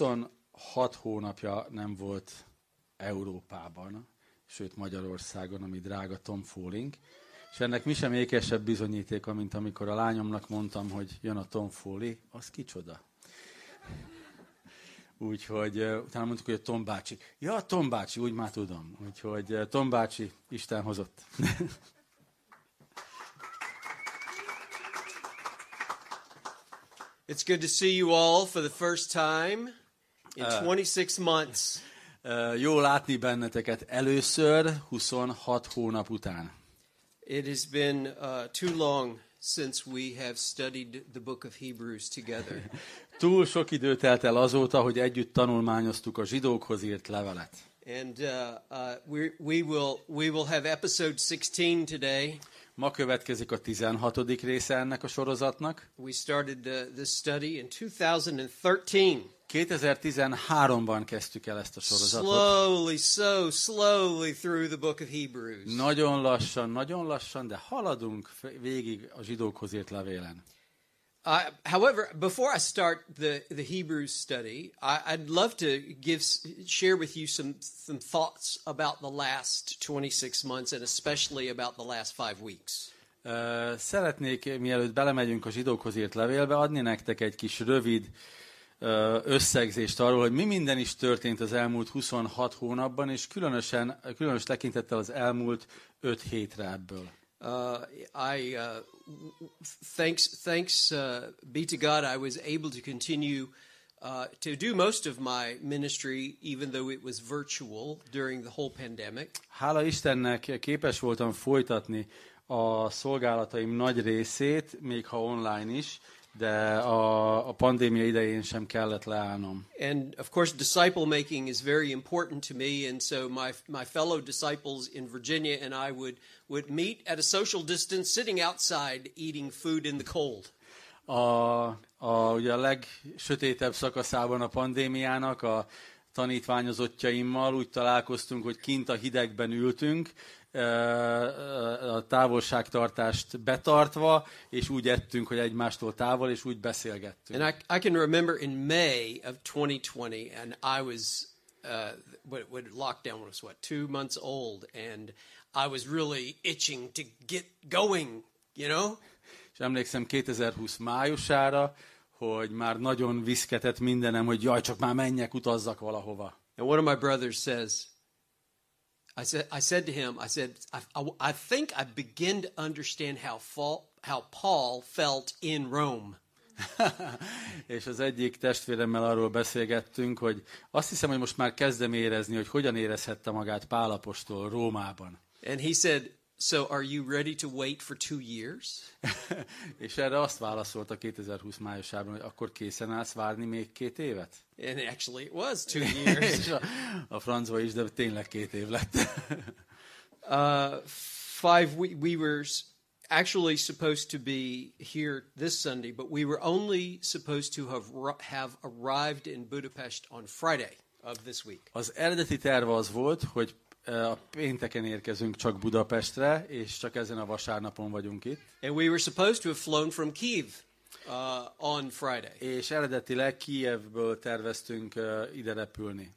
26 hónapja nem volt Európában, sőt Magyarországon, ami drága Tom Fooling, és ennek mi sem ékesebb bizonyítéka, mint amikor a lányomnak mondtam, hogy jön a Tom Foley, az kicsoda. Úgyhogy utána mondtuk, hogy a Tom bácsi. Ja, Tom bácsi, úgy már tudom. Úgyhogy Tom bácsi, Isten hozott. It's good to see you all for the first time in 26 months. Jó látni benneteket először, 26 hónap után. It has been uh, too long since we have studied the book of Hebrews together. Túl sok idő telt el azóta, hogy együtt tanulmányoztuk a zsidókhoz írt levelet. And uh, uh, we, we, will, we will have episode 16 today. Ma következik a 16. része ennek a sorozatnak. We started uh, this study in 2013. 2013-ban kezdtük el ezt a sorozatot. Slowly, so slowly through the book of Hebrews. Nagyon lassan, nagyon lassan, de haladunk f- végig a zsidókhoz írt levélen. Uh, however, before I start the, the Hebrews study, I, I'd love to give s- share with you some some thoughts about the last 26 months and especially about the last five weeks. Ö, Szeretnék, mielőtt belemegyünk a zsidókhoz írt levélbe, adni nektek egy kis rövid ö, összegzést arról, hogy mi minden is történt az elmúlt 26 hónapban, és különösen, különös tekintettel az elmúlt 5 hétre ebből. Uh, I uh, w- w- thanks thanks uh, be to God, I was able to continue. Uh, to do most of my ministry, even though it was virtual during the whole pandemic, Hála Istennek képes voltam folytatni a szolgálataim nagy részét, még ha online is, de a, a pandémia idején sem kellett leállnom. And of course, disciple making is very important to me. And so my, my fellow disciples in Virginia and I would, would meet at a social distance, sitting outside, eating food in the cold. a, a, ugye a legsötétebb szakaszában a pandémiának a tanítványozottjaimmal úgy találkoztunk, hogy kint a hidegben ültünk, ö, ö, a távolságtartást betartva, és úgy ettünk, hogy egymástól távol, és úgy beszélgettünk. And I, I can remember in May of 2020, and I was, uh, when, when lockdown was what, two months old, and I was really itching to get going, you know? És emlékszem 2020 májusára, hogy már nagyon viszketett mindenem, hogy jaj, csak már menjek, utazzak valahova. And one of my brothers says, I said, I said to him, I said, I, I, I think I begin to understand how, fall, how Paul felt in Rome. És az egyik testvéremmel arról beszélgettünk, hogy azt hiszem, hogy most már kezdem érezni, hogy hogyan érezhette magát Pálapostól Rómában. And he said, So are you ready to wait for two years? És erre azt válaszolta 2020 májusában, hogy akkor készen állsz várni még két évet? And actually, it was two years. És a, a francba is, de tényleg két év lett. uh, five, we, we were s- actually supposed to be here this Sunday, but we were only supposed to have, ru- have arrived in Budapest on Friday of this week. Az eredeti terve az volt, hogy eh, a pénteken érkezünk csak Budapestre, és csak ezen a vasárnapon vagyunk itt. And we were supposed to have flown from Kiev uh, on Friday. És eredetileg Kijevből terveztünk eh, ide repülni.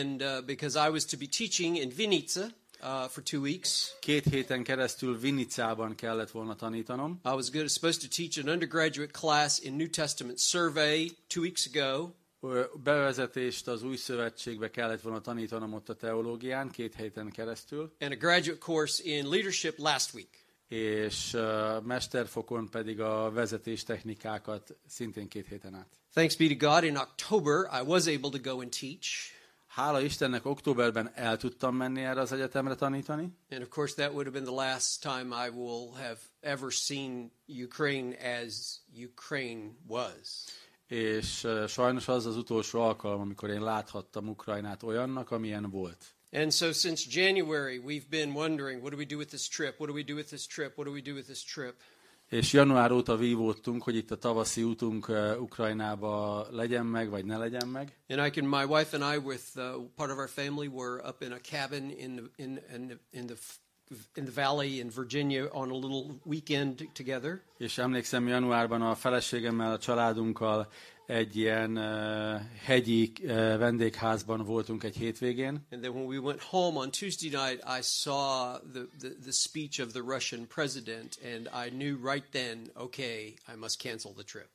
And uh, because I was to be teaching in Vinica uh, for two weeks, Két héten keresztül Vinicában kellett volna tanítanom. I was good, supposed to teach an undergraduate class in New Testament survey two weeks ago. Ö, Bevezetést az új szövetségbe kellett volna tanítanom ott a teológián két héten keresztül, And a graduate course in leadership last week. és ö, mesterfokon pedig a vezetéstechnikákat szintén két héten át. Thanks be to God, in October, I was able to go and teach. Hála Istennek októberben el tudtam menni erre az egyetemre tanítani, And of course, that would have been the last time I will have ever seen Ukraine as Ukraine was. és ö, sajnos az az utolsó alkalom, amikor én láthattam Ukrajnát olyannak, amilyen volt. And so since January, we've been wondering what do we do with this trip? What do we do with this trip? What do we do with this trip? És január óta vívódtunk, hogy itt a tavaszi útunk ö, Ukrajnába legyen meg, vagy ne legyen meg. And I can, my wife and I, with uh, part of our family, were up in a cabin in the, in, in, the, in, the, f- in the valley in Virginia on a little weekend together. És emlékszem, januárban a feleségemmel, a családunkkal egy ilyen uh, hegyi uh, vendégházban voltunk egy hétvégén, And then when we went home on Tuesday night, I saw the, the, the speech of the Russian president, and I knew right then, okay, I must cancel the trip.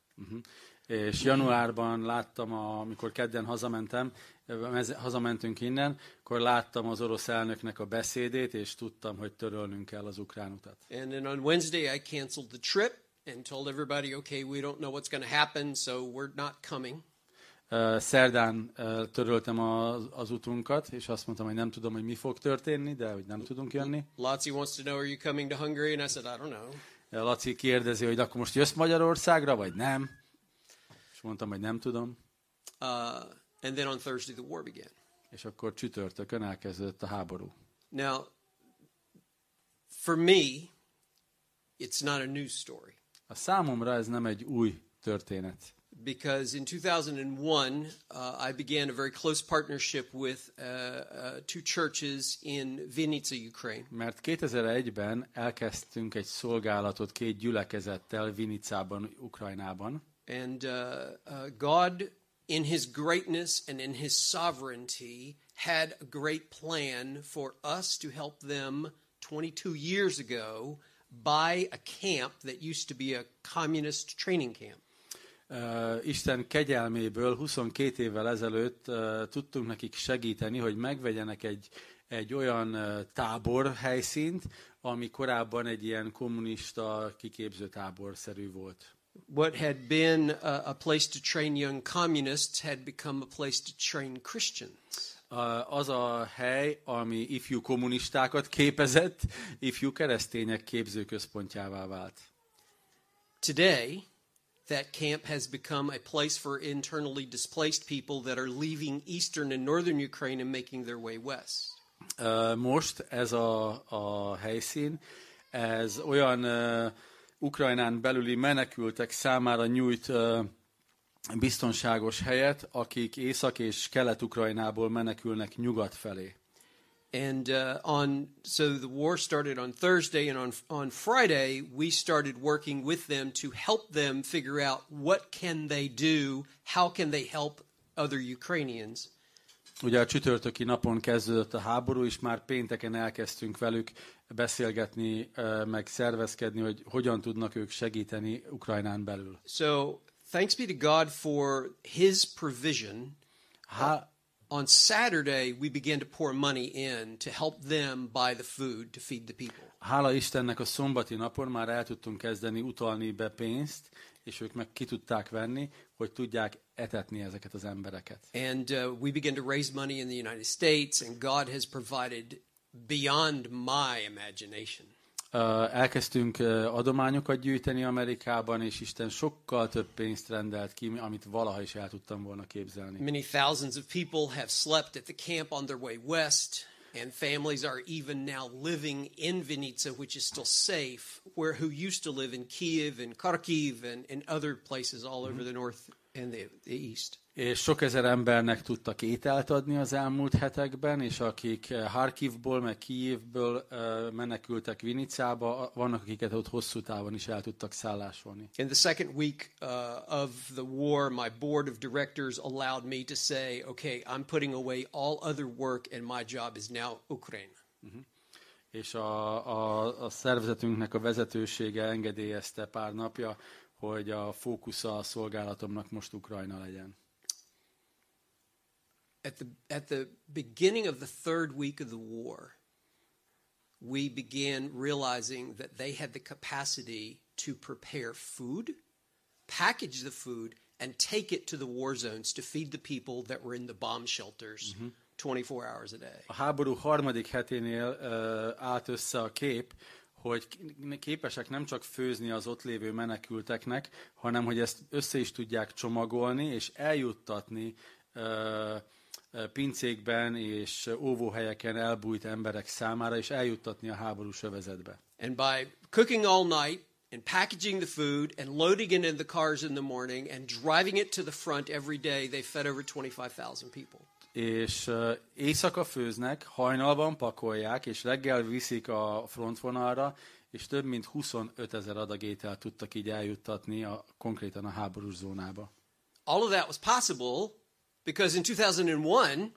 és januárban láttam, a, amikor kedden hazamentem, eh, mez- hazamentünk innen, akkor láttam az orosz elnöknek a beszédét, és tudtam, hogy törölnünk kell az ukrán utat. And then on Wednesday, I canceled the trip and told everybody, okay, we don't know what's going to happen, so we're not coming. Ö, Szerdán ö, töröltem az, az utunkat, és azt mondtam, hogy nem tudom, hogy mi fog történni, de hogy nem tudunk jönni. Lotzi wants to know, are you coming to Hungary? And I said, I don't know. Ö, Laci kérdezi, hogy akkor most jössz Magyarországra, vagy nem? És mondtam, hogy nem tudom. Uh, and then on Thursday, the war began. És akkor csütörtökön elkezdődött a háború. Now, for me, it's not a news story A számomra ez nem egy új történet. because in 2001, uh, I began a very close partnership with uh, uh, two churches in Vinnytsia, Ukraine. Mert 2001-ben elkezdtünk egy szolgálatot két gyülekezettel Vinicában, Ukrajnában, And uh, uh, God, in His greatness and in His sovereignty, had a great plan for us to help them 22 years ago buy a camp that used to be a communist training camp. Ö, Isten kegyelméből 22 évvel ezelőtt ö, tudtunk nekik segíteni, hogy megvegyenek egy, egy olyan ö, tábor helyszínt, ami korábban egy ilyen kommunista kiképző táborszerű volt. What had been a, a place to train young communists had become a place to train Christians. Ö, Az a hely, ami ifjú kommunistákat képezett, ifjú keresztények képzőközpontjává vált. Today, that camp has become a place for internally displaced people that are leaving eastern and northern Ukraine and making their way west. Ö, Most ez a, a helyszín, ez olyan ö, Ukrajnán belüli menekültek számára nyújt ö, biztonságos helyet, akik Észak- és Kelet-Ukrajnából menekülnek nyugat felé. And uh, on so the war started on Thursday, and on on Friday we started working with them to help them figure out what can they do, how can they help other Ukrainians, Ugye a csütörtöki napon kezdődött a háború, és már pénteken elkezdtünk velük beszélgetni, ö, meg szervezkedni, hogy hogyan tudnak ők segíteni Ukrajnán belül. So thanks be to God for his provision. Há- On Saturday, we began to pour money in to help them buy the food to feed the people. Hála Istennek a szombati napon már el tudtunk kezdeni utalni be pénzt, és ők meg ki tudták venni, hogy tudják etetni ezeket az embereket. And uh, we began to raise money in the United States, and God has provided beyond my imagination. Ö, Elkezdtünk ö, adományokat gyűjteni Amerikában, és Isten sokkal több pénzt rendelt ki, amit valaha is el tudtam volna képzelni. Many thousands of people have slept at the camp on their way west, and families are even now living in Vinica, which is still safe, where who used to live in Kiev and Kharkiv and, and other places all over the north and the, the east. És sok ezer embernek tudtak ételt adni az elmúlt hetekben, és akik ö, Harkivból, meg Kijivből ö, menekültek Vinicába, vannak, akiket ott hosszú távon is el tudtak szállásolni. In the second week uh, of the war, my board of directors allowed me to say, okay, I'm putting away all other work, and my job is now Ukraine. és a, a, a szervezetünknek a vezetősége engedélyezte pár napja, hogy a fókusza a szolgálatomnak most Ukrajna legyen. at the at the beginning of the third week of the war, we began realizing that they had the capacity to prepare food, package the food, and take it to the war zones to feed the people that were in the bomb shelters 24 hours a day. A háború harmadik heténél ö, állt össze a kép, hogy k- képesek nem csak főzni az ott lévő menekülteknek, hanem hogy ezt össze is tudják csomagolni és eljuttatni ö, ö, pincékben és óvóhelyeken elbújt emberek számára, és eljuttatni a háborús övezetbe. And by cooking all night and packaging the food and loading it in the cars in the morning and driving it to the front every day, they fed over 25,000 people. és ö, éjszaka főznek, hajnalban pakolják, és reggel viszik a frontvonalra, és több mint 25 ezer adag ételt tudtak így eljuttatni a, konkrétan a háborús zónába. all of that was possible because in 2001,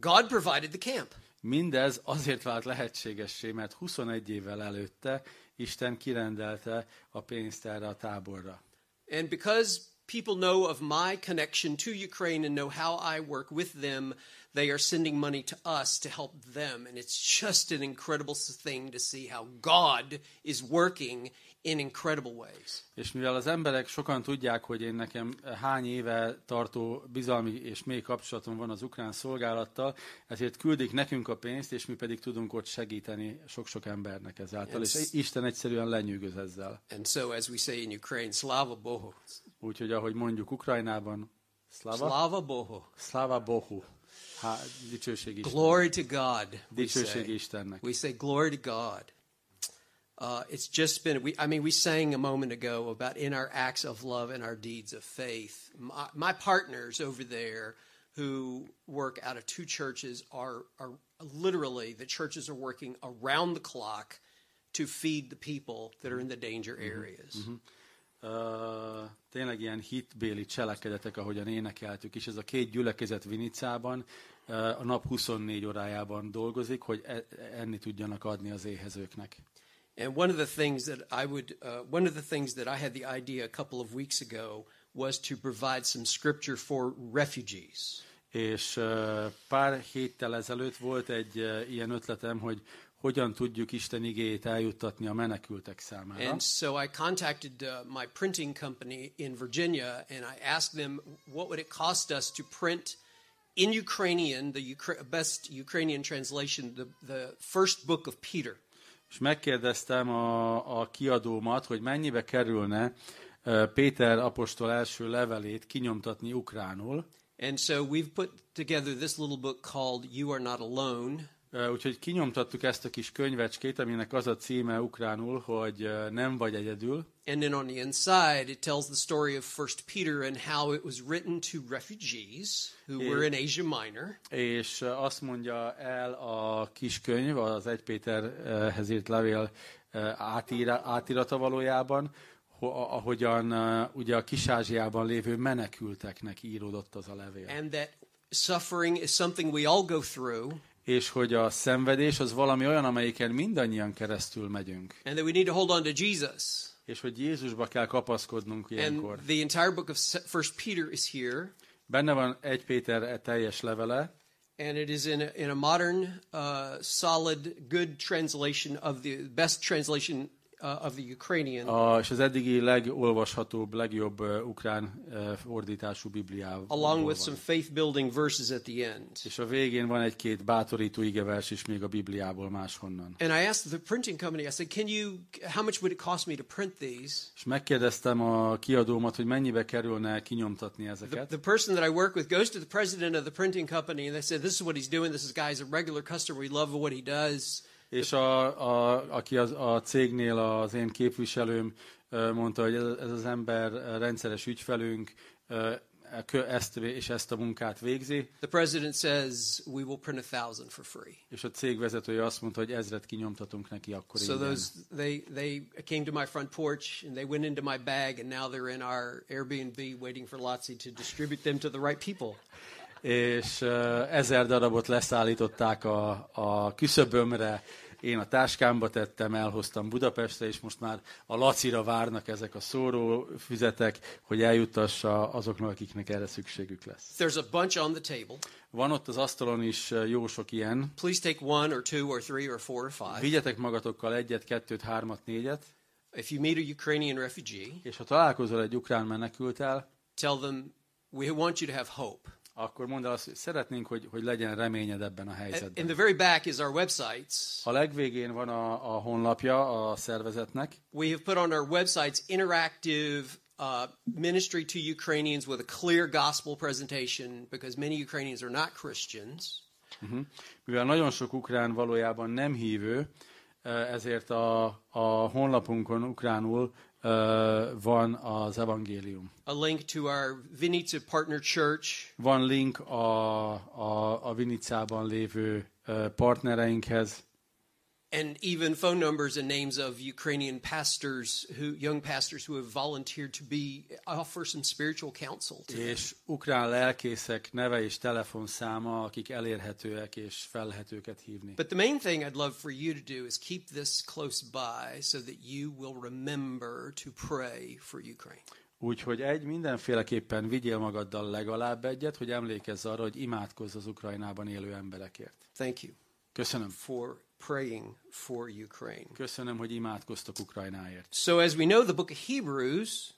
God provided the camp. Mindez azért vált lehetségessé, mert 21 évvel előtte Isten kirendelte a pénzt erre a táborra. And because people know of my connection to Ukraine and know how I work with them, they are sending money to us to help them. And it's just an incredible thing to see how God is working in incredible ways. És mivel az emberek sokan tudják, hogy én nekem hány éve tartó bizalmi és mély kapcsolatom van az ukrán szolgálattal, ezért küldik nekünk a pénzt, és mi pedig tudunk ott segíteni sok-sok embernek ezáltal. Yes. És Isten egyszerűen lenyűgöz ezzel. And so, as we say in Ukraine, Slava Bohu. Úgyhogy ahogy mondjuk Ukrajnában, Slava, Slava Bohu. Slava Bohu. Há, dicsőség Isten. Glory to God. We Dicsőség say. Istennek. We say glory to God. Uh, it's just been. We, I mean, we sang a moment ago about in our acts of love and our deeds of faith. My, my partners over there, who work out of two churches, are are literally the churches are working around the clock to feed the people that are in the danger areas. Ö, tényleg ilyen hitbéli cselekedetek, ahogyan énekeltük is. Ez a két gyülekezet Vinicában ö, a nap 24 órájában dolgozik, hogy e- enni tudjanak adni az éhezőknek. And one of the things that I would, uh, one of the things that I had the idea a couple of weeks ago was to provide some scripture for refugees. És ö, pár héttel ezelőtt volt egy ö, ilyen ötletem, hogy hogyan tudjuk Isten igéjét eljuttatni a menekültek számára. And so I contacted uh, my printing company in Virginia and I asked them what would it cost us to print in Ukrainian, the Ukra- best Ukrainian translation, the, the first book of Peter. és megkérdeztem a, a kiadómat, hogy mennyibe kerülne ö, Péter apostol első levelét kinyomtatni ukránul, And so we've put together this little book called You Are Not Alone. Ö, Úgyhogy kinyomtattuk ezt a kis könyvecskét, aminek az a címe ukránul, hogy ö, nem vagy egyedül, And then on the inside, it tells the story of First Peter and how it was written to refugees who were in Asia Minor. és ö, azt mondja el a kis könyv, az 1 Péterhez írt levél ö, átíra, átirata valójában, ho- a- ahogyan ö, ugye a Kis-Ázsiában lévő menekülteknek íródott az a levél. and that suffering is something we all go through És hogy a szenvedés az valami olyan, amelyiken mindannyian keresztül megyünk. and that we need to hold on to Jesus. És hogy Jézusba kell kapaszkodnunk ilyenkor. And the entire book of Se- First Peter is here Benne van 1 Péter teljes levele, and it is in a, in a modern uh, solid good translation of the best translation uh, of the Ukrainian A, és az eddigi legolvashatóbb, legjobb uh, ukrán uh, fordítású Bibliával. along with van. some faith building verses at the end. És a végén van egy-két bátorító igevers is még a Bibliából máshonnan. And I asked the printing company, I said, "Can you how much would it cost me to print these?" És megkérdeztem a kiadómat, hogy mennyibe kerülne kinyomtatni The, ezeket. the person that I work with goes to the president of the printing company and they said, "This is what he's doing. This is guy's a regular customer. We love what he does." És a, a, aki az, a cégnél az én képviselőm uh, mondta, hogy ez, ez az ember uh, rendszeres ügyfelünk, uh, e- kö- ezt és ezt a munkát végzi, The president says, "We will print a thousand for free." és a cég vezetője azt mondta, hogy ezret kinyomtatunk neki akkor So ingyen. those they they came to my front porch and they went into my bag and now they're in our Airbnb waiting for Lotzi to distribute them to the right people. és ö, ezer darabot leszállították a, a küszöbömre, én a táskámba tettem, elhoztam Budapestre, és most már a lacira várnak ezek a szórófüzetek, hogy eljuttassa azoknak, akiknek erre szükségük lesz. There's a bunch on the table. Van ott az asztalon is ö, jó sok ilyen. Please take one or two or three or four or five. Vigyetek magatokkal egyet, kettőt, hármat, négyet, If you meet a Ukrainian refugee, és ha találkozol egy ukrán menekültel, tell them we want you to have hope. akkor mondd el azt, hogy szeretnénk, hogy, hogy legyen reményed ebben a And in helyzetben. the very back is our websites. A legvégén van a, a honlapja a szervezetnek, We have put on our websites interactive uh, ministry to Ukrainians with a clear gospel presentation because many Ukrainians are not Christians. Mivel nagyon sok ukrán valójában nem hívő, ezért a, a honlapunkon ukránul ö, van az evangélium. A link to our Vinica partner church, Van link a, a, a Vinicában lévő ö, partnereinkhez, and even phone numbers and names of Ukrainian pastors who young pastors who have volunteered to be offer some spiritual counsel to them. és ukrán lelkészek neve és telefonszáma, akik elérhetőek és fel lehet őket hívni. But the main thing I'd love for you to do is keep this close by so that you will remember to pray for Ukraine. Úgyhogy egy, mindenféleképpen vigyél magaddal legalább egyet, hogy emlékezz arra, hogy imádkozz az Ukrajnában élő emberekért. Thank you Köszönöm. for praying for Ukraine. Köszönöm, hogy imádkoztok Ukrajnáért. So as we know the book of Hebrews,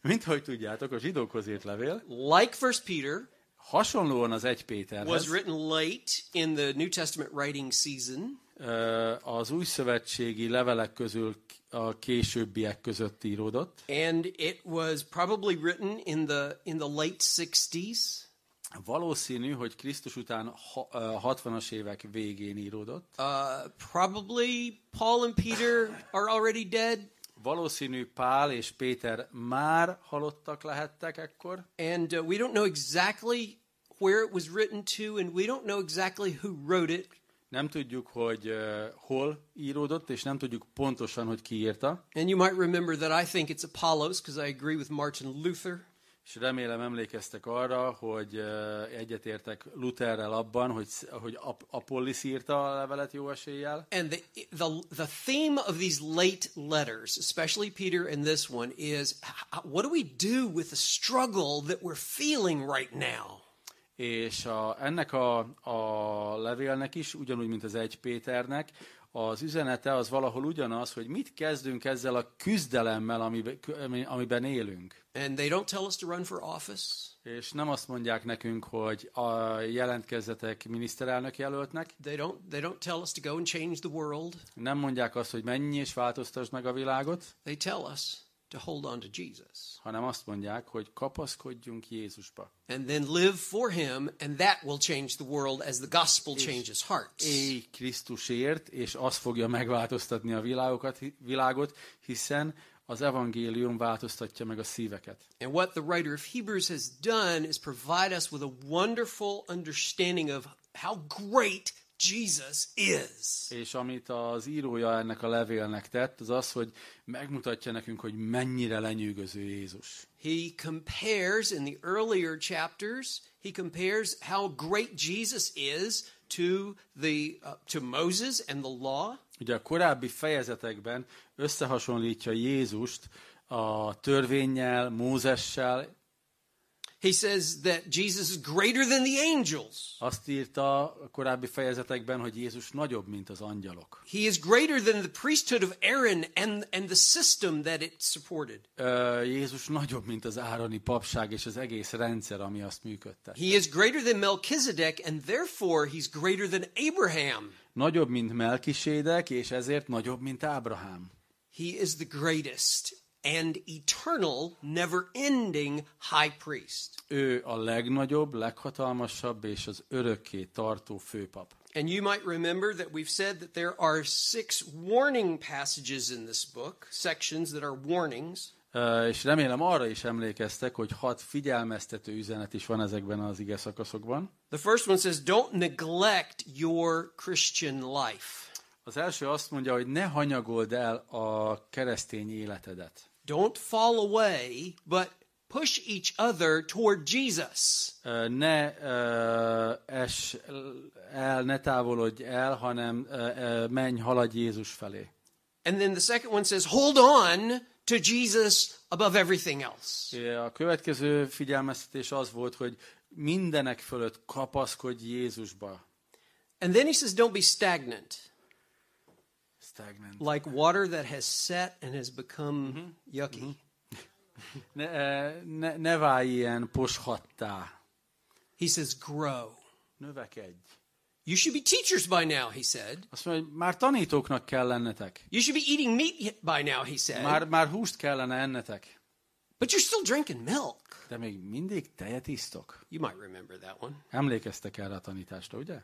Mint ahogy tudjátok, a zsidókhoz írt levél like First Peter, hasonlóan az egy was Péterhez, written late in the New Testament writing season. ö, az új szövetségi levelek közül a későbbiek között íródott. and it was probably written in the in the late 60s Valószínű, hogy Krisztus után ha- ö, 60-as évek végén íródott. uh, probably paul and peter are already dead Valószínű Pál és Péter már halottak lehettek ekkor. and uh, we don't know exactly where it was written to and we don't know exactly who wrote it Nem tudjuk, hogy ö, hol íródott, és nem tudjuk pontosan, hogy ki írta. and you might remember that i think it's apollos because i agree with martin luther És remélem emlékeztek arra, hogy ö, egyetértek Lutherrel abban, hogy, hogy Ap- Apollis írta a levelet jó eséllyel. and the, the the theme of these late letters especially peter and this one is h- what do we do with the struggle that we're feeling right now És a, ennek a, a levélnek is, ugyanúgy, mint az egy Péternek, az üzenete az valahol ugyanaz, hogy mit kezdünk ezzel a küzdelemmel, amiben, ami- amiben élünk. And they don't tell us to run for office. És nem azt mondják nekünk, hogy a, jelentkezzetek miniszterelnök jelöltnek, They don't they don't tell us to go and change the world. nem mondják azt, hogy menj és változtasd meg a világot, They tell us to hold on to Jesus hanem azt mondják, hogy kapaszkodjunk Jézusba. and then live for him and that will change the world as the gospel changes hearts. Élj Krisztusért, és az fogja megváltoztatni a világokat, világot, hiszen az evangélium változtatja meg a szíveket. And what the writer of Hebrews has done is provide us with a wonderful understanding of how great Jesus is. És amit az írója ennek a levélnek tett, az az, hogy megmutatja nekünk, hogy mennyire lenyűgöző Jézus. He compares in the earlier chapters, he compares how great Jesus is to the uh, to Moses and the law. Ugye a korábbi fejezetekben összehasonlítja Jézust a törvényel, Mózessel, He says that Jesus is greater than the angels. Azt írta a korábbi fejezetekben, hogy Jézus nagyobb, mint az angyalok. He is greater than the priesthood of Aaron and, and the system that it supported. Ö, Jézus nagyobb, mint az ároni papság és az egész rendszer, ami azt működtet. He is greater than Melchizedek, and therefore he's greater than Abraham. Nagyobb, mint Melkisédek, és ezért nagyobb, mint Ábrahám. He is the greatest and eternal, never ending high priest. Ő a legnagyobb, leghatalmasabb és az örökké tartó főpap. And you might remember that we've said that there are six warning passages in this book, sections that are warnings. Ö, És remélem arra is emlékeztek, hogy hat figyelmeztető üzenet is van ezekben az ige szakaszokban. The first one says, Don't neglect your Christian life. Az első azt mondja, hogy ne hanyagold el a keresztény életedet. Don't fall away, but push each other toward Jesus. Ö, ne ö, es el, ne távolodj el, hanem ö, ö, menj, haladj Jézus felé. And then the second one says, hold on to Jesus above everything else. A következő figyelmeztetés az volt, hogy mindenek fölött kapaszkodj Jézusba. And then he says, don't be stagnant, Stagnant. like water that has set and has become yucky. Ne, ö, ne, ne válj ilyen poshattá. He says, grow. Növekedj. You should be teachers by now, he said. Azt mondja, hogy már tanítóknak kell lennetek. You should be eating meat by now, he said. Már, már húst kellene ennetek. But you're still drinking milk. De még mindig tejet isztok. You might remember that one. Emlékeztek erre a tanításra, ugye?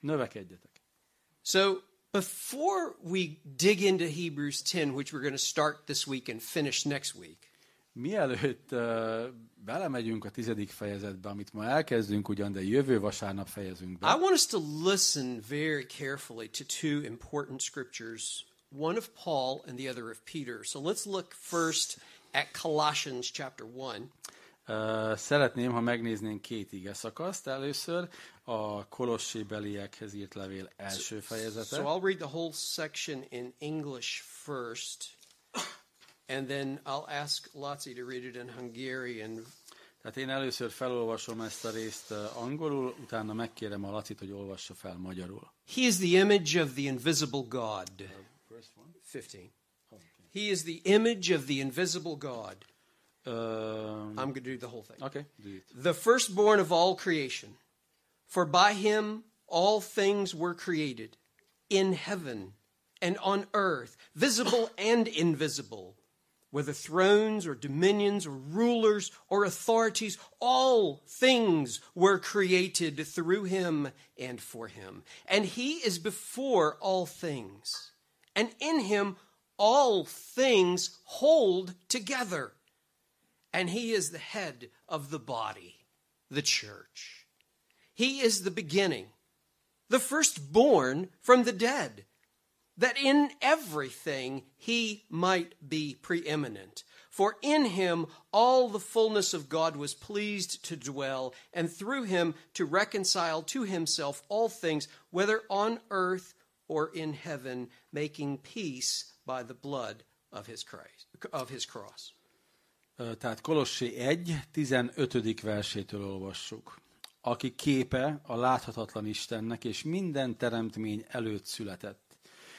Növekedjetek. So, before we dig into Hebrews 10, which we're going to start this week and finish next week, Mielőtt ö, belemegyünk a tizedik fejezetbe, amit ma elkezdünk ugyan, de jövő vasárnap fejezünk I be, want us to listen very carefully to two important scriptures, one of Paul and the other of Peter. So let's look first at Colossians chapter 1. ö, szeretném, ha megnéznénk két ige szakaszt. Először a Kolossé beliekhez írt levél első So fejezete. I'll read the whole section in English first, and then I'll ask Lotzi to read it in Hungarian. Tehát én először felolvasom ezt a részt ö, angolul, utána megkérem a Lacit, hogy olvassa fel magyarul. He is the image of the invisible God. Um, 15. He is the image of the invisible God. Ö, I'm going to do the whole thing. Oké, do it. the firstborn of all creation. For by him all things were created, in heaven and on earth, visible and invisible, whether thrones or dominions or rulers or authorities, all things were created through him and for him. And he is before all things, and in him all things hold together. And he is the head of the body, the church. He is the beginning, the firstborn from the dead, that in everything he might be preeminent. For in him all the fullness of God was pleased to dwell, and through him to reconcile to himself all things, whether on earth or in heaven, making peace by the blood of his Christ, of his cross. Ö, Tehát Kolossé 1, 15. versétől olvassuk. Aki képe a láthatatlan Istennek és minden teremtmény előtt született.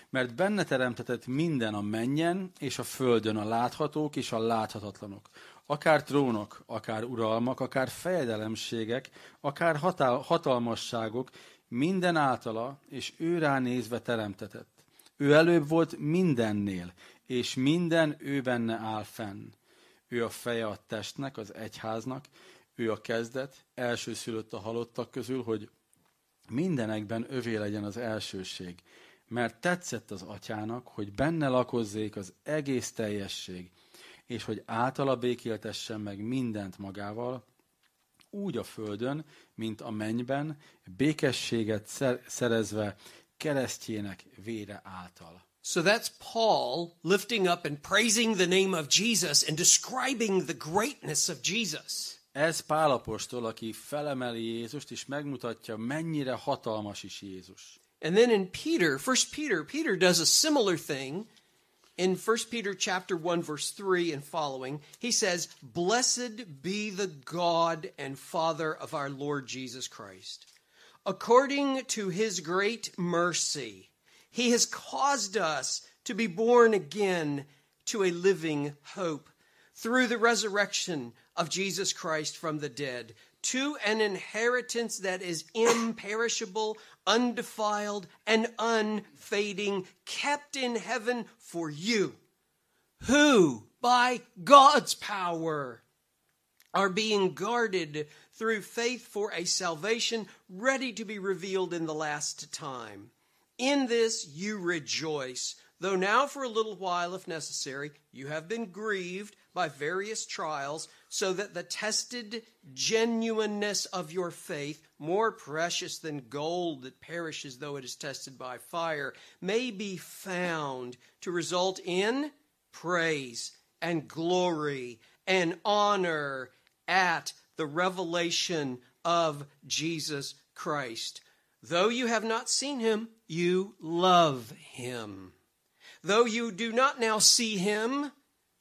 Mert benne teremtetett minden a mennyen és a földön a láthatók és a láthatatlanok. Akár trónok, akár uralmak, akár fejedelemségek, akár hatál- hatalmasságok, minden általa és ő ránézve teremtetett. Ő előbb volt mindennél, és minden ő benne áll fenn. Ő a feje a testnek, az egyháznak, ő a kezdet, elsőszülött a halottak közül, hogy mindenekben övé legyen az elsőség, mert tetszett az atyának, hogy benne lakozzék az egész teljesség, és hogy általa békéltessen meg mindent magával, úgy a földön, mint a mennyben, békességet szer- szerezve keresztjének vére által. So that's Paul lifting up and praising the name of Jesus and describing the greatness of Jesus. Ez Pálapostól, aki felemeli Jézust, és megmutatja, mennyire hatalmas is Jézus. And then in Peter, 1 Peter, Peter does a similar thing in 1 Peter chapter 1 verse 3 and following. He says, "Blessed be the God and Father of our Lord Jesus Christ. According to his great mercy, he has caused us to be born again to a living hope." through the resurrection of Jesus Christ from the dead, to an inheritance that is imperishable, undefiled, and unfading, kept in heaven for you, who, by God's power, are being guarded through faith for a salvation ready to be revealed in the last time. In this you rejoice, though now for a little while, if necessary, you have been grieved by various trials, so that the tested genuineness of your faith, more precious than gold that perishes though it is tested by fire, may be found to result in praise and glory and honor at the revelation of Jesus Christ. Though you have not seen him, you love him. Though you do not now see him,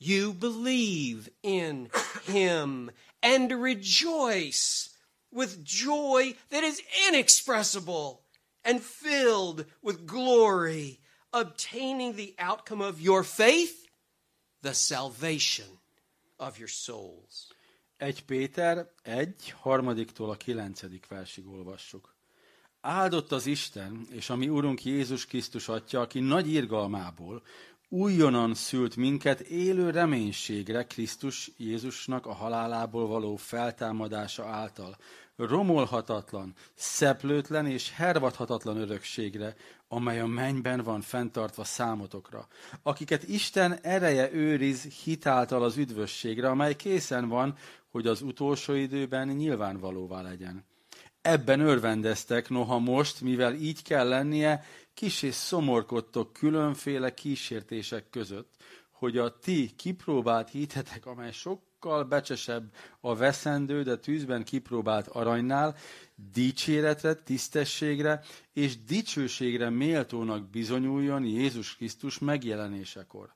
you believe in him and rejoice with joy that is inexpressible and filled with glory, obtaining the outcome of your faith, the salvation of your souls. 1 Péter 1, harmadiktól a 9. versig olvassuk. Áldott az Isten, és a mi Urunk Jézus Krisztus Atya, aki nagy irgalmából újonnan szült minket élő reménységre Krisztus Jézusnak a halálából való feltámadása által, romolhatatlan, szeplőtlen és hervadhatatlan örökségre, amely a mennyben van fenntartva számotokra, akiket Isten ereje őriz hitáltal az üdvösségre, amely készen van, hogy az utolsó időben nyilvánvalóvá legyen. Ebben örvendeztek, noha most, mivel így kell lennie, kis és szomorkodtok különféle kísértések között, hogy a ti kipróbált hitetek, amely sokkal becsesebb a veszendő, de tűzben kipróbált aranynál, dicséretre, tisztességre és dicsőségre méltónak bizonyuljon Jézus Krisztus megjelenésekor.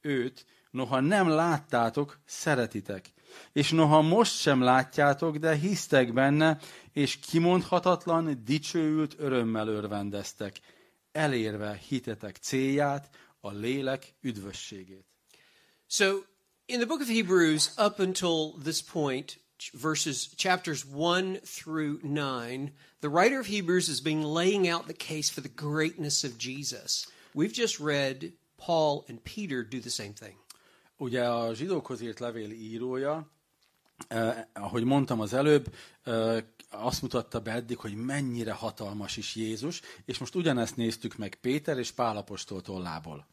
Őt, noha nem láttátok, szeretitek, és noha most sem látjátok, de hisztek benne, és kimondhatatlan, dicsőült örömmel örvendeztek, elérve hitetek célját, a lélek üdvösségét. So, in the book of Hebrews, up until this point, ch- verses chapters 1 through 9, the wrter of Hebrews has been laying out the case for the greatness of Jesus. We've just read Paul and Peter do the same thing. Ugye a zsidókhoz írt levél írója, eh, ahogy mondtam az előbb, eh, azt mutatta be eddig, hogy mennyire hatalmas is Jézus, és most ugyanezt néztük meg Péter és Pálapostól tollából.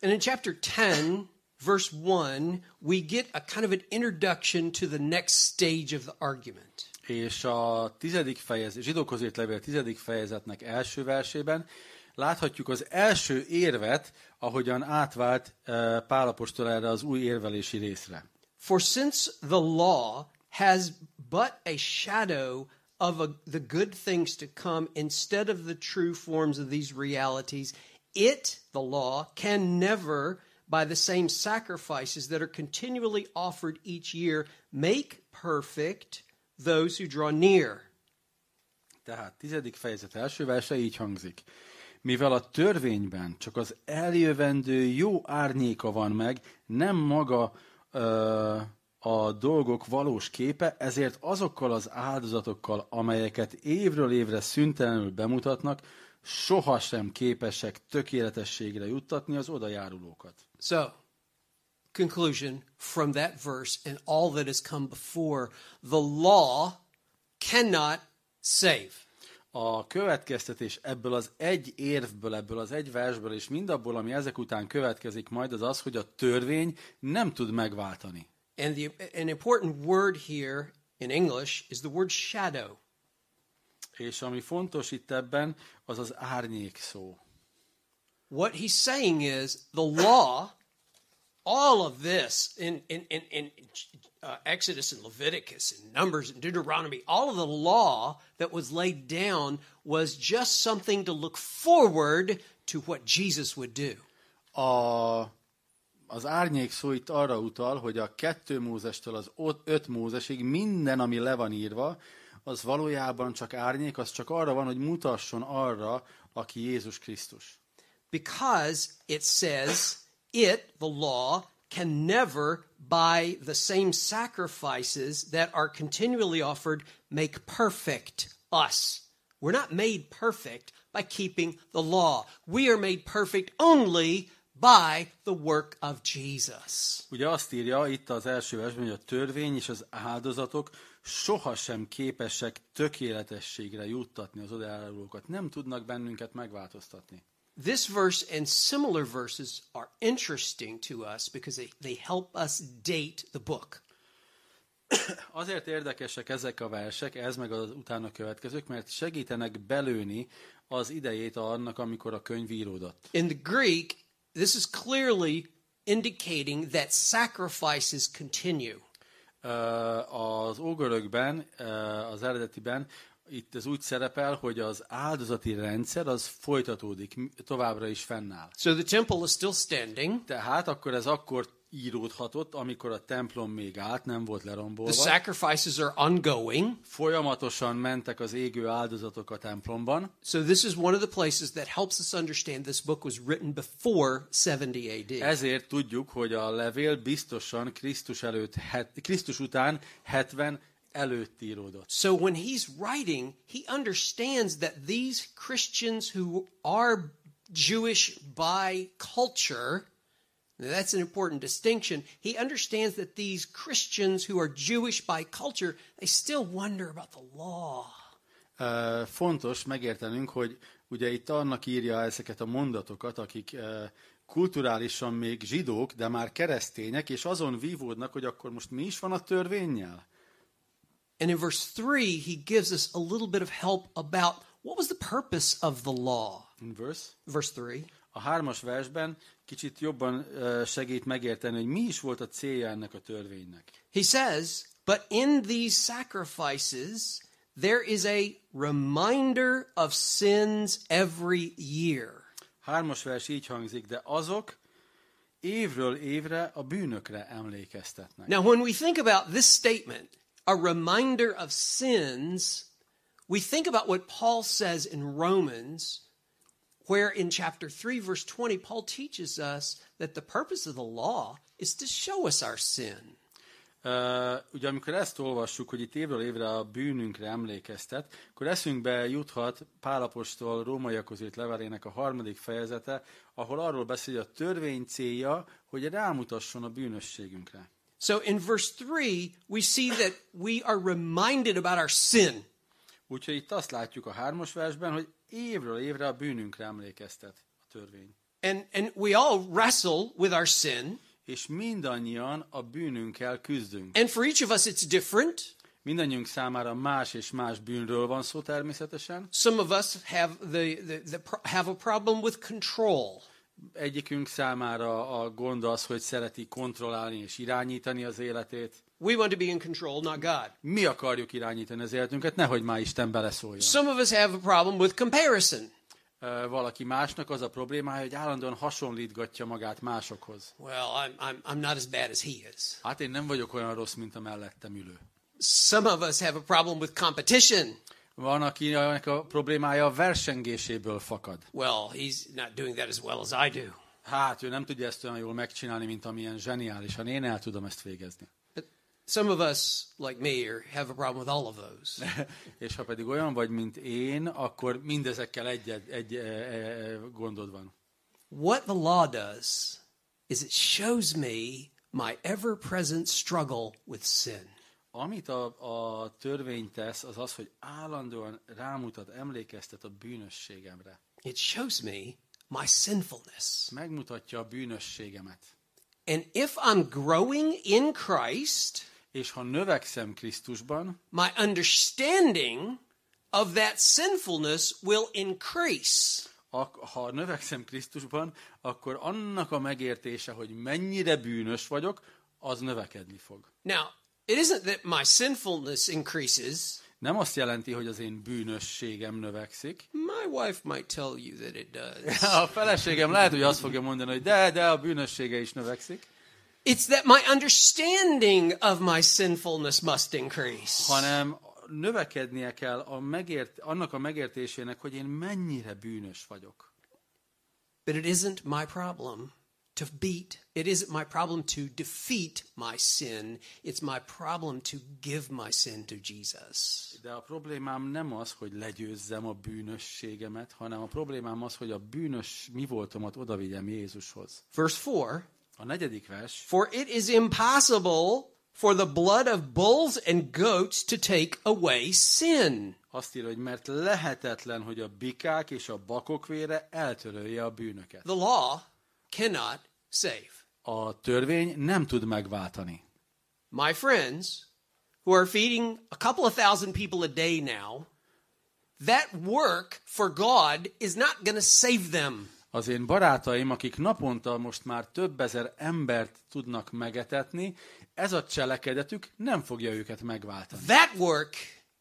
And in chapter 10, verse 1, we get a kind of an introduction to the next stage of the argument. És a tizedik fejezet, zsidókhoz írt levél tizedik fejezetnek első versében láthatjuk az első érvet, ahogyan átvált eh, Pálapostól erre az új érvelési részre. For since the law has but a shadow of a, the good things to come instead of the true forms of these realities, it, the law, can never, by the same sacrifices that are continually offered each year, make perfect those who draw near. Tehát tizedik fejezet első verse így hangzik. Mivel a törvényben csak az eljövendő jó árnyéka van meg, nem maga ö, a dolgok valós képe, ezért azokkal az áldozatokkal, amelyeket évről évre szüntelenül bemutatnak, sohasem képesek tökéletességre juttatni az odajárulókat. So, conclusion from that verse and all that has come before the law cannot save. a következtetés ebből az egy érvből, ebből az egy versből, és mindabból, ami ezek után következik majd, az az, hogy a törvény nem tud megváltani. And the, an important word here in English is the word shadow. És ami fontos itt ebben, az az árnyék szó. What he's saying is the law, all of this in, in, in, in uh, Exodus and Leviticus and Numbers and Deuteronomy, all of the law that was laid down was just something to look forward to what Jesus would do. A, az árnyék szó itt arra utal, hogy a kettő Mózestől az ott- öt Mózesig minden, ami le van írva, az valójában csak árnyék, az csak arra van, hogy mutasson arra, aki Jézus Krisztus. because it says it, the law, can never, by the same sacrifices that are continually offered, make perfect us. We're not made perfect by keeping the law. We are made perfect only by the work of Jesus. Ugye azt írja itt az első versben, hogy a törvény és az áldozatok sohasem képesek tökéletességre juttatni az odajárulókat. Nem tudnak bennünket megváltoztatni. This verse and similar verses are interesting to us because they, they help us date the book. Azért érdekesek ezek a versek, ez meg az utána következők, mert segítenek belőni az idejét annak, amikor a könyv íródott. In the Greek, this is clearly indicating that sacrifices continue. Ö, Az ógörökben, ö, az eredetiben itt ez úgy szerepel, hogy az áldozati rendszer az folytatódik, m- továbbra is fennáll. So the temple is still standing. Tehát akkor ez akkor íródhatott, amikor a templom még állt, nem volt The lerombolva. sacrifices are ongoing. Folyamatosan mentek az égő áldozatok a templomban. So this is one of the places that helps us understand this book was written before 70 AD. Ezért tudjuk, hogy a levél biztosan Krisztus, előtt, het, Krisztus után 70 előtt íródott. So when he's writing, he understands that these Christians who are Jewish by culture Now, that's an important distinction. He understands that these Christians who are Jewish by culture, they still wonder about the law. Ö, Fontos megértenünk, hogy ugye itt annak írja ezeket a mondatokat, akik ö, kulturálisan még zsidók, de már keresztények, és azon vívódnak, hogy akkor most mi is van a törvényjel. And in verse 3, he gives us a little bit of help about what was the purpose of the law. In verse. Verse 3. A hármas versben kicsit jobban ö, segít megérteni, hogy mi is volt a célja ennek a törvénynek. He says, But in these sacrifices, there is a reminder of sins every year. Hármas vers így hangzik, de azok évről évre a bűnökre emlékeztetnek. Now, when we think about this statement, a reminder of sins, we think about what Paul says in Romans, where in chapter 3, verse 20, Paul teaches us that the purpose of the law is to show us our sin. Ö, ugye amikor ezt olvassuk, hogy itt évről évre a bűnünkre emlékeztet, akkor eszünkbe juthat Pálapostól Rómaiakhoz írt levelének a harmadik fejezete, ahol arról beszél, hogy a törvény célja, hogy rámutasson a bűnösségünkre. So in verse 3, we see that we are reminded about our sin. Úgyhogy itt azt látjuk a hármas versben, hogy évről évre a bűnünkre emlékeztet a törvény. And, and we all wrestle with our sin. És mindannyian a bűnünkkel küzdünk. And for each of us, it's different. Mindannyiunk számára más és más bűnről van szó természetesen. Some of us have, the, the, the, pro- have a problem with control. Egyikünk számára a gond az, hogy szereti kontrollálni és irányítani az életét. We want to be in control, not God. Mi akarjuk irányítani az életünket, nehogy már Isten beleszóljon. Some of us have a problem with comparison. Ö, Valaki másnak az a problémája, hogy állandóan hasonlítgatja magát másokhoz. Well, I'm, I'm, I'm not as bad as he is. Hát én nem vagyok olyan rossz, mint a mellettem ülő. Some of us have a problem with competition. Van, akinek a problémája a versengéséből fakad. Well, he's not doing that as well as I do. Hát, ő nem tudja ezt olyan jól megcsinálni, mint amilyen zseniálisan. Én el tudom ezt végezni. But some of us, like me, are, have a problem with all of those. És ha pedig olyan vagy, mint én, akkor mindezekkel egy, egy, egy e, e, gondod van. what the law does is it shows me my ever present struggle with sin. Amit a, a törvény tesz, az az, hogy állandóan rámutat, emlékeztet a bűnösségemre. It shows me my sinfulness. Megmutatja a bűnösségemet. And if I'm growing in Christ, És ha növekszem Krisztusban, my understanding of that sinfulness will increase. ak- ha növekszem Krisztusban, akkor annak a megértése, hogy mennyire bűnös vagyok, az növekedni fog. Now, it isn't that my sinfulness increases. Nem azt jelenti, hogy az én bűnösségem növekszik. My wife might tell you that it does. A feleségem lehet, hogy azt fogja mondani, hogy de, de a bűnössége is növekszik, It's that my understanding of my sinfulness must increase. hanem növekednie kell a megért, annak a megértésének, hogy én mennyire bűnös vagyok. But it isn't my problem to beat, it isn't my problem to defeat my sin. It's my problem to give my sin to Jesus. De a problémám nem az, hogy legyőzzem a bűnösségemet, hanem a problémám az, hogy a bűnös mi voltomat odavigyem Jézushoz. Verse 4 A negyedik vers. For it is impossible for the blood of bulls and goats to take away sin. Azt írja, hogy mert lehetetlen, hogy a bikák és a bakok vére eltörölje a bűnöket. The law cannot save. A törvény nem tud megváltani. My friends, who are feeding a couple of thousand people a day now, that work for God is not going to save them. Az én barátaim, akik naponta most már több ezer embert tudnak megetetni, ez a cselekedetük nem fogja őket megváltani. That work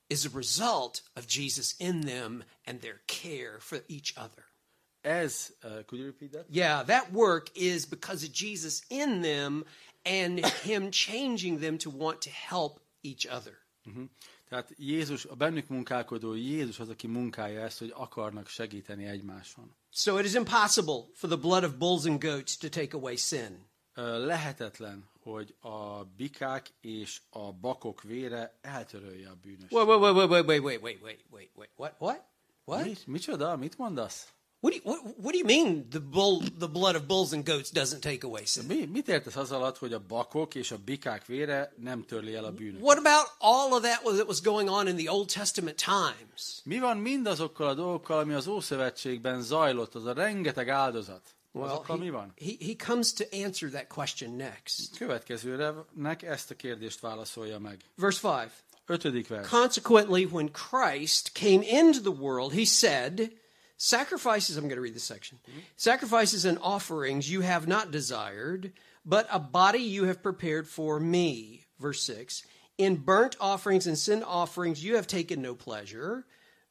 is a result of Jesus in them and their care for each other. Ez, uh, could you repeat that? Yeah, that work is because of Jesus in them and Him changing them to want to help each other. Uh-huh. Tehát Jézus, a bennük munkálkodó Jézus az, aki munkálja ezt, hogy akarnak segíteni egymáson. So it is impossible for the blood of bulls and goats to take away sin. Ö, Eh, Lehetetlen, hogy a bikák és a bakok vére eltörölje a bűnös. Wait, wait, wait, wait, wait, wait, wait, wait, wait, wait. What? What? What? Mit, micsoda? Mit mondasz? What do you, what, what do you mean the bull the blood of bulls and goats doesn't take away sin? Mi, mit értesz az alatt, hogy a bakok és a bikák vére nem törli el a bűnöt? What about all of that that was going on in the Old Testament times? Mi van mindazokkal a dolgokkal, ami az Ószövetségben zajlott, az a rengeteg áldozat? Azokkal mi he, van? he, he comes to answer that question next. Következőrenek ezt a kérdést válaszolja meg. Verse 5. Ötödik vers. Consequently, when Christ came into the world, he said, Sacrifices, I'm going to read this section. Sacrifices and offerings you have not desired, but a body you have prepared for me. Verse 6. In burnt offerings and sin offerings you have taken no pleasure.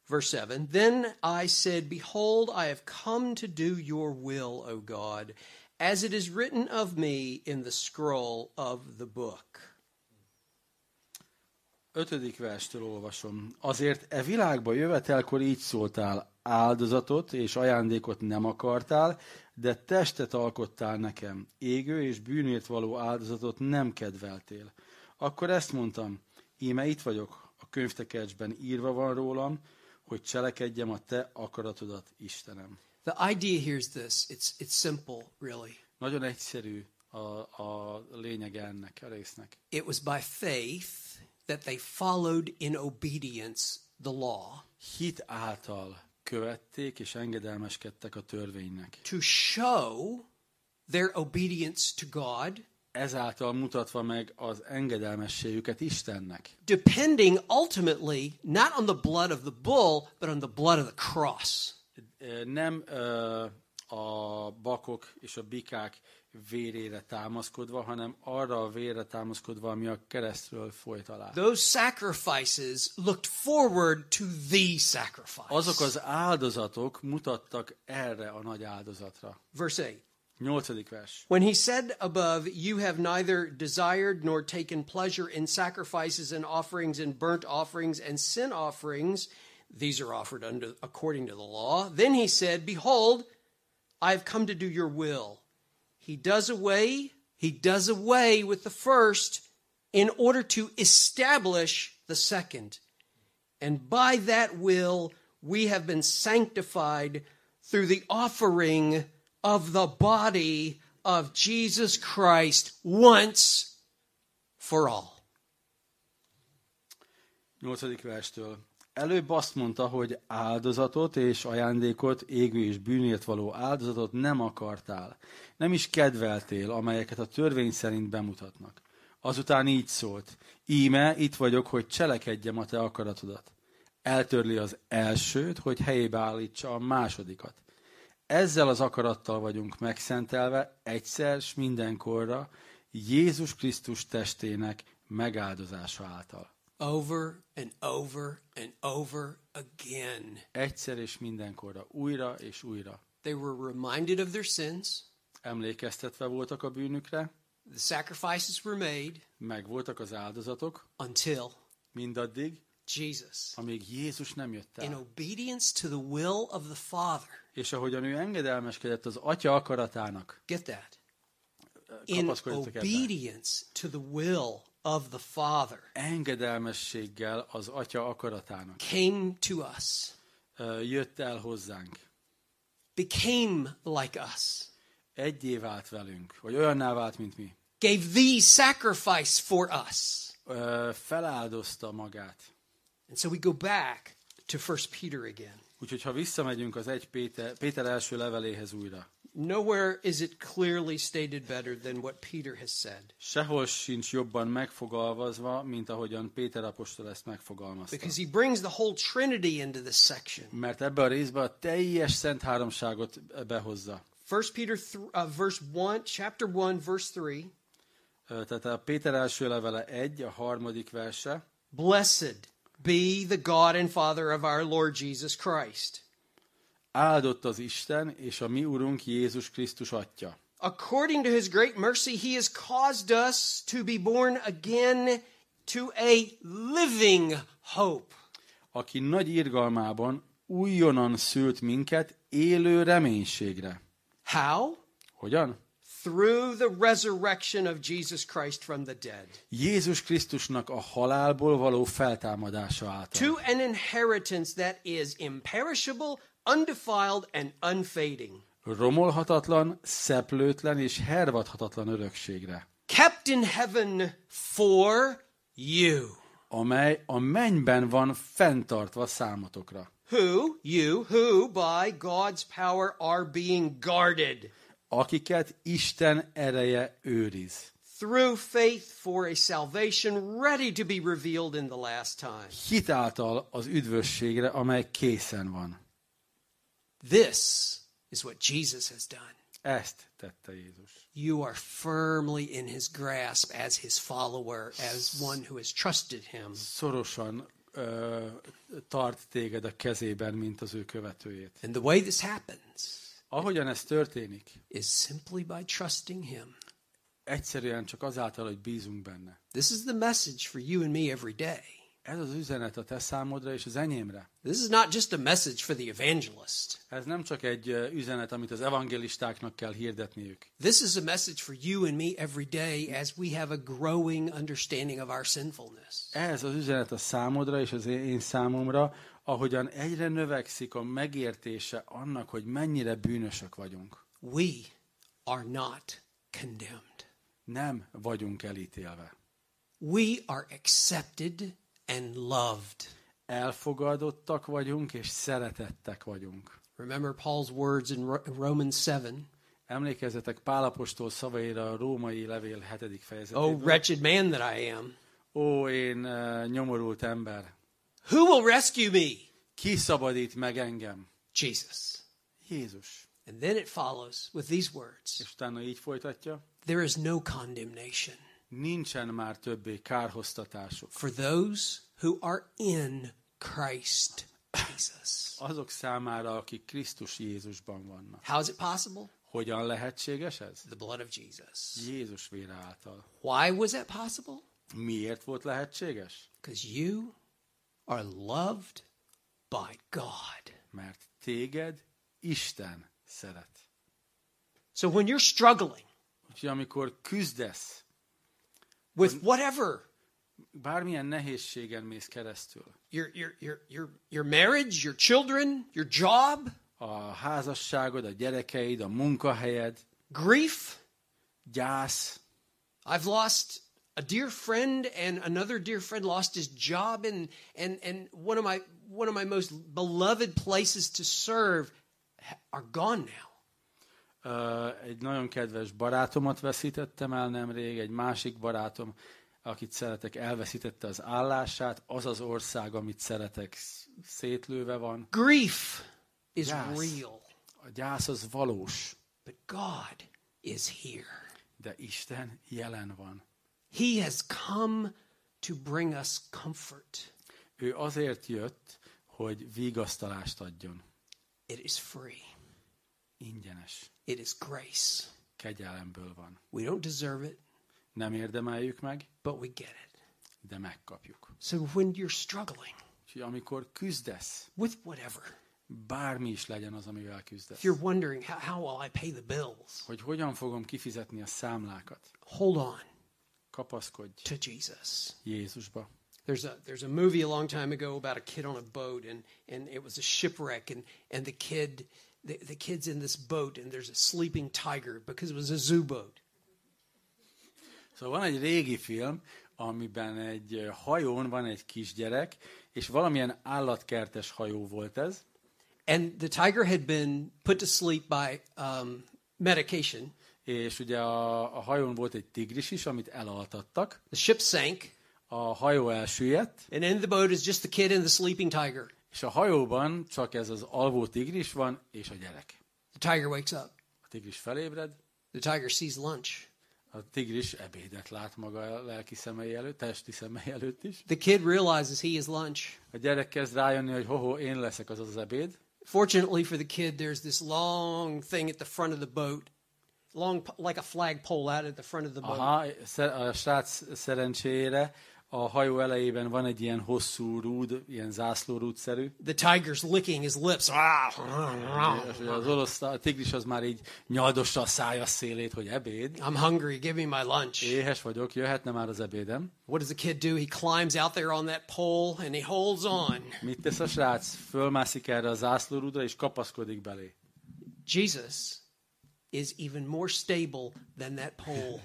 Verse 7 Then I said, Behold, I have come to do your will, O God, as it is written of me in the scroll of the book. Ötödik verstől olvasom. Azért e világba jövetelkor így szóltál, áldozatot és ajándékot nem akartál, de testet alkottál nekem, égő és bűnért való áldozatot nem kedveltél. Akkor ezt mondtam, íme itt vagyok, a könyvtekercsben írva van rólam, hogy cselekedjem a te akaratodat, Istenem. The idea here is this it's, it's simple, really. Nagyon egyszerű a, a lényeg ennek a résznek. It was by faith that they followed in obedience the law Hit által követték és engedelmeskedtek a törvénynek. to show their obedience to God, Ezáltal mutatva meg az engedelmességüket Istennek. depending ultimately not on the blood of the bull, but on the blood of the cross. Ö, Nem ö, a bakok és a bikák vérére támaszkodva, hanem arra a vérre támaszkodva, ami a keresztről folyt alá. Those sacrifices looked forward to the sacrifice. Azok az áldozatok mutattak erre a nagy áldozatra. Verse 8. Nyolcadik vers. When he said above, You have neither desired nor taken pleasure in sacrifices and offerings and burnt offerings and sin offerings, these are offered under, according to the law. Then he said, Behold, I have come to do your will. He does away, he does away with the first in order to establish the second. And by that will, we have been sanctified through the offering of the body of Jesus Christ once for all. Nyolcadik verstől. Előbb azt mondta, hogy áldozatot és ajándékot, égő és bűnért való áldozatot nem akartál. Nem is kedveltél, amelyeket a törvény szerint bemutatnak. Azután így szólt. Íme, itt vagyok, hogy cselekedjem a te akaratodat. Eltörli az elsőt, hogy helyébe állítsa a másodikat. Ezzel az akarattal vagyunk megszentelve egyszer s mindenkorra Jézus Krisztus testének megáldozása által. Over and over and over again. egyszer és mindenkorra, újra és újra. They were reminded of their sins, Emlékeztetve voltak a bűnükre, the sacrifices were made meg voltak az áldozatok, until mindaddig, Jesus, amíg Jézus nem jött in el. obedience to the will of the Father, És ahogyan ő engedelmeskedett az atya akaratának, get that, in kapaszkodjatok ebben. obedience to the will of the Father, Engedelmességgel az atya akaratának came to us, ö, jött el hozzánk. became like us, Egyé vált velünk, vagy olyanná vált, mint mi. gave the sacrifice for us. Ö, Feláldozta magát. And so we go back to 1 Peter again. Úgyhogy ha visszamegyünk az egy Péter, Péter első leveléhez újra, Nowhere is it clearly stated better than what Peter has said, Sehol sincs jobban megfogalmazva, mint ahogyan Péter apostol ezt megfogalmazta. because he brings the whole Trinity into this section. Mert ebbe a részbe a teljes szent háromságot behozza. 1 Peter th- uh, verse 1, chapter 1, verse 3. Ö, Tehát a Péter első levele 1, a harmadik verse. Blessed be the God and Father of our Lord Jesus Christ. Áldott az Isten és a mi Urunk Jézus Krisztus Atya. According to his great mercy, he has caused us to be born again to a living hope aki nagy irgalmában újonnan szült minket élő reménységre. How? Hogyan? Through the resurrection of Jesus Christ from the dead. Jézus Krisztusnak a halálból való feltámadása által. To an inheritance that is imperishable, undefiled and unfading, romolhatatlan, szeplőtlen és hervadhatatlan örökségre, kept in heaven for you. amely a mennyben van fenntartva számotokra, Who, you, who by God's power are being guarded akiket Isten ereje őriz. through faith for a salvation ready to be revealed in the last time. Hitáltal az üdvösségre, amely készen van. This is what Jesus has done. Ezt tette Jézus. You are firmly in his grasp as his follower, as one who has trusted him. Szorosan ö, tart téged a kezében, mint az ő követőjét. And the way this happens Ahogyan ez történik, is simply by trusting him. egyszerűen csak azáltal, hogy bízunk benne. This is the message for you and me every day. Ez az üzenet a te számodra és az enyémre. This is not just a message for the evangelist. Ez nem csak egy ö, üzenet, amit az evangelistáknak kell hirdetniük. This is a message for you and me every day as we have a growing understanding of our sinfulness. Ez az üzenet a számodra és az én számomra, ahogyan egyre növekszik a megértése annak, hogy mennyire bűnösök vagyunk. We are not condemned. Nem vagyunk elítélve. We are accepted and loved. Elfogadottak vagyunk és szeretettek vagyunk. Remember Paul's words in Ro- Romans 7. Emlékezzetek Pálapostól szavaira a római levél 7. Oh, fejezetében. wretched man that I am, Ó, én ö, nyomorult ember, who will rescue me? ki szabadít meg engem? Jesus. Jézus. And then it follows with these words És utána így folytatja. There is no condemnation Nincsen már többé kárhoztatások. for those who are in Christ Jesus. Azok számára, akik Krisztus Jézusban vannak. How is it possible? Hogyan lehetséges ez? The blood of Jesus. Jézus vére által. Why was that possible? Miért volt lehetséges? Because you are loved by God. Mert téged Isten szeret. So when you're struggling Úgyhogy amikor küzdesz, with whatever bármilyen nehézségen mész keresztül, your your your your your marriage, your children, your job, a házasságod, a gyerekeid, a munkahelyed, grief. gyász, I've lost a dear friend and another dear friend lost his job and and and one of my one of my most beloved places to serve ha- are gone now. Ö, egy nagyon kedves barátomat veszítettem el nemrég, egy másik barátom, akit szeretek, elveszítette az állását, az az ország, amit szeretek, sz- szétlőve van. Grief is Yes. real, A gyász az valós, but God is here. de Isten jelen van. He has come to bring us comfort. Ő azért jött, hogy vigasztalást adjon. It is free. Ingyenes. It is grace. Kegyelemből van. We don't deserve it, Nem érdemeljük meg, but we get it. de megkapjuk. So when you're struggling Úgyhogy amikor küzdesz, with whatever, bármi is legyen az, amivel küzdesz, if you're wondering how, how will I pay the bills, hogy hogyan fogom kifizetni a számlákat, hold on kapaszkodj to Jesus. Jézusba. There's a there's a movie a long time ago about a kid on a boat and and it was a shipwreck and and the kid the, the kid's in this boat and there's a sleeping tiger because it was a zoo boat. Szóval van egy régi film, amiben egy ö, hajón van egy kisgyerek, és valamilyen állatkertes hajó volt ez, And the tiger had been put to sleep by um, medication. és ugye a, a hajón volt egy tigris is, amit elaltattak. The ship sank A hajó elsüllyedt, and in the boat is just the kid and the sleeping tiger. és a hajóban csak ez az alvó tigris van, és a gyerek. The tiger wakes up. A tigris felébred, The tiger sees lunch. a tigris ebédet lát maga a lelki szemei előtt, testi szemei előtt is. The kid realizes he is lunch. A gyerek kezd rájönni, hogy hoho, én leszek az az ebéd, Fortunately for the kid, there's this long thing at the front of the boat, Uh-huh. long like a flagpole out at the front of the boat. Aha, szer- a srác szerencsére a hajó elejében van egy ilyen hosszú rúd, ilyen zászlórúdszerű, The tiger's licking his lips. és I'm ugye az orosz, a tigris az már így nyaldossa a szája szélét, hogy ebéd. hungry. Give me my lunch. Éhes vagyok, jöhetne már az ebédem. What does the kid do? He climbs out there on that pole and he holds on. Mit tesz a srác? Fölmászik erre a zászlórúdra, és kapaszkodik belé. Jesus is even more stable than that pole.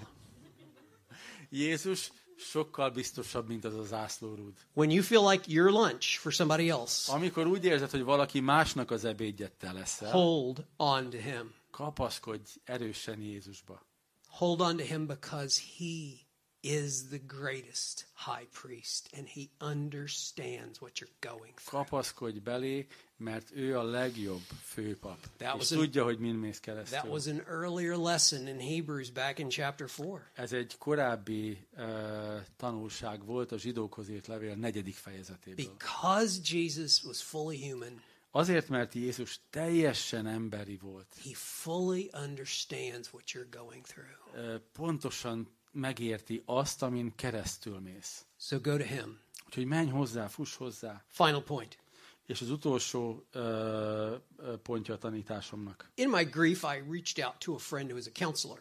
Jézus sokkal biztosabb, mint az a zászlórúd. When you feel like your lunch for somebody else, Amikor úgy érzed, hogy valaki másnak az ebédjét te leszel, hold on to him. kapaszkodj erősen Jézusba. Hold on to him because he is the greatest high priest and he understands what you're going through. Kapaszkodj belé, mert ő a legjobb főpap. That és was a- tudja, hogy min mész That keresztül. was an earlier lesson in Hebrews back in chapter 4. Ez egy korábbi uh, tanulság volt a zsidókhoz írt levél negyedik fejezetéből. Because Jesus was fully human, Azért, mert Jézus teljesen emberi volt. he fully understands what you're going through. Ö, pontosan megérti azt, amin keresztül mész. So go to him. Úgyhogy menj hozzá, fuss hozzá. Final point. És az utolsó ö, ö, pontja a tanításomnak. In my grief, I reached out to a friend who is a counselor.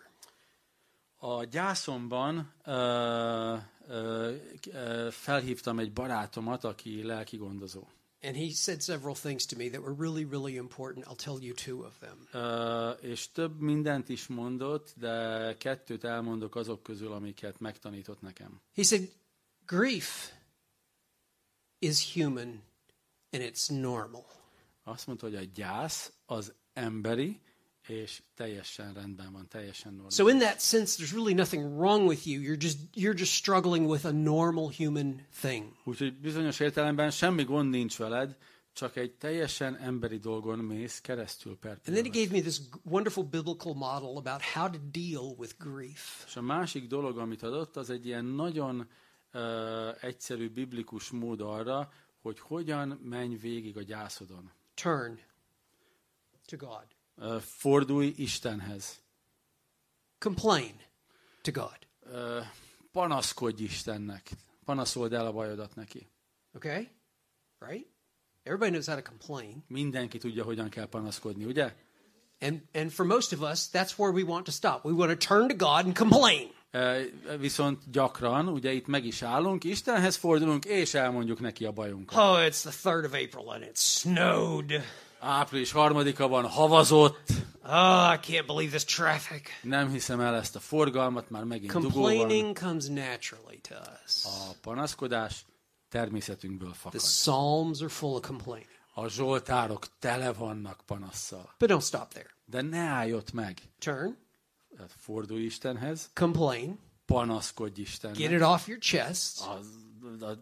A gyászomban ö, ö, ö, felhívtam egy barátomat, aki lelki gondozó. And he said several things to me that were really, really important. I'll tell you two of them. Ö, és több mindent is mondott, de kettőt elmondok azok közül, amiket megtanított nekem. He said, Grief is human and it's normal. Azt mondta, hogy a gyász az emberi, és teljesen rendben van, teljesen normális. So in that sense, there's really nothing wrong with you. You're just you're just struggling with a normal human thing. Úgyhogy bizonyos értelemben semmi gond nincs veled, csak egy teljesen emberi dolgon mész keresztül per And then he pillanat. gave me this wonderful biblical model about how to deal with grief. És a másik dolog, amit adott, az egy ilyen nagyon uh, egyszerű biblikus mód arra, hogy hogyan menj végig a gyászodon. Turn to God. Uh, fordulj Istenhez. Complain to God. Uh, panaszkodj Istennek. Panaszold el a bajodat neki. Okay? Right? Everybody knows how to complain. Mindenki tudja, hogyan kell panaszkodni, ugye? And and for most of us, that's where we want to stop. We want to turn to God and complain. Ö, Viszont gyakran, ugye itt meg is állunk, Istenhez fordulunk, és elmondjuk neki a bajunkat. Oh, it's the 3rd of April and it snowed. Április harmadika van, havazott, Oh, I can't believe this traffic. nem hiszem el ezt a forgalmat, már megint dugó van. Complaining comes naturally to us. A panaszkodás természetünkből The fakad. Psalms are full of complaining. A zsoltárok tele vannak panasszal. But don't stop there. De ne állj ott meg. Turn, Tehát fordulj Istenhez, complain, panaszkodj get Istennek. it off your chest, Az, a,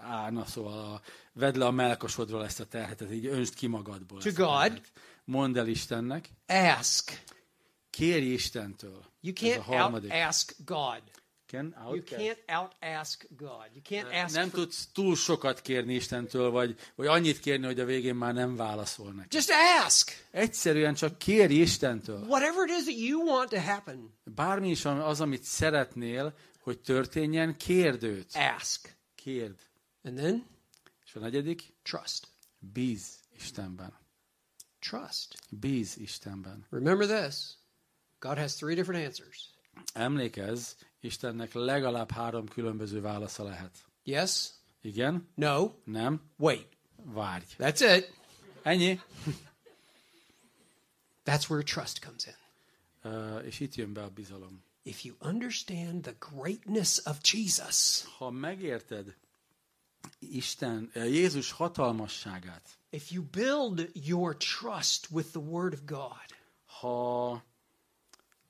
á, na szóval, a, vedd le a melkosodról ezt a terhet, tehát így önst ki magadból. To ezt a God. terhet. Mondd el Istennek, ask. kérj Istentől. You Ez a can't out harmadik. ask God. Can, out You can't out ask God. You can't ask Nem for- tudsz túl sokat kérni Istentől, vagy, vagy annyit kérni, hogy a végén már nem válaszol neki. Just ask. Egyszerűen csak kérj Istentől. Whatever it is that you want to happen, Bármi is am- az, amit szeretnél, hogy történjen, kérd őt. ask. Kérd. And then És a negyedik, trust. bíz Istenben. Trust. Bíz Istenben. Remember this God has three different answers Emlékezz, Istennek legalább három különböző válasza lehet. yes, Igen, no, nem, wait. várj. That's it. Ennyi. That's where trust comes in. Ö, és itt jön be a bizalom. If you understand the greatness of Jesus, Ha megérted Isten, ö, Jézus hatalmasságát, if you build your trust with the Word of God, ha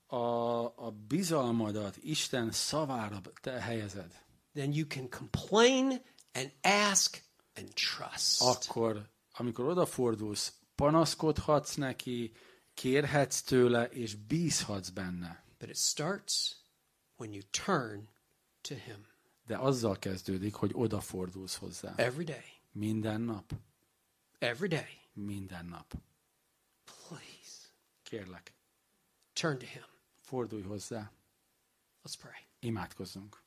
a, a bizalmadat Isten szavára te helyezed, then you can complain and ask and trust. akkor, amikor odafordulsz, panaszkodhatsz neki, kérhetsz tőle, és bízhatsz benne. But it starts when you turn to Him De azzal kezdődik, hogy odafordulsz hozzá. every day, Minden nap. every day. Minden nap. Please Kérlek, turn to Him. fordulj hozzá. Let's pray. Imádkozzunk.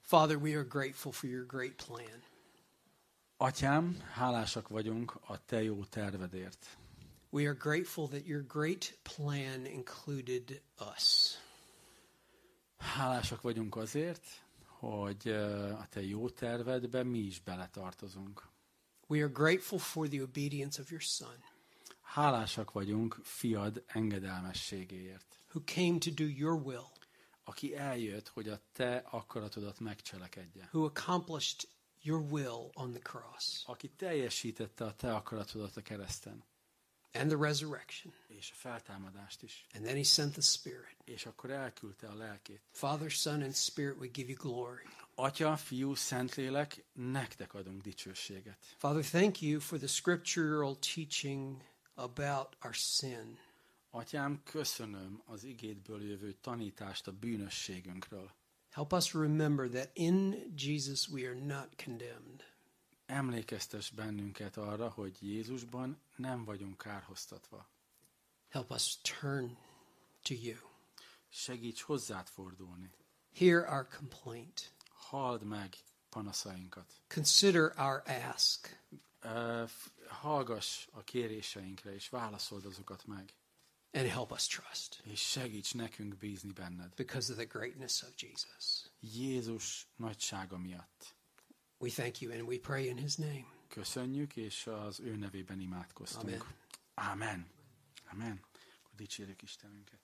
Father, we are grateful for your great plan. Atyám, hálásak vagyunk a te jó tervedért. We are grateful that your great plan included us. Hálásak vagyunk azért, hogy ö, a te jó tervedbe mi is beletartozunk. We are grateful for the obedience of your Son, Hálásak vagyunk fiad engedelmességéért, who came to do your will, aki eljött, hogy a te akaratodat megcselekedje. who accomplished your will on the cross Aki teljesítette a te akaratodat a kereszten, and the resurrection. és a feltámadást is, And then he sent the Spirit. és akkor elküldte a lelkét. Father, Son, and Spirit, we give you glory. Atya, fiú, szentlélek, nektek adunk dicsőséget. Father, thank you for the scriptural teaching about our sin. Atyám, köszönöm az igédből jövő tanítást a bűnösségünkről. Help us remember that in Jesus we are not condemned. Emlékeztes bennünket arra, hogy Jézusban nem vagyunk kárhoztatva. Help us turn to you. Segíts hozzád fordulni. Hear our complaint. Halld meg panaszainkat. Consider our ask. Ö, f- Hallgass a kéréseinkre, és válaszold azokat meg. And help us trust És segíts nekünk bízni benned. because of the greatness of Jesus. Jézus nagysága miatt. We thank you and we pray in his name. Köszönjük, és az ő nevében imádkoztunk. Amen. Amen. Amen. Akkor dicsérjük Istenünket.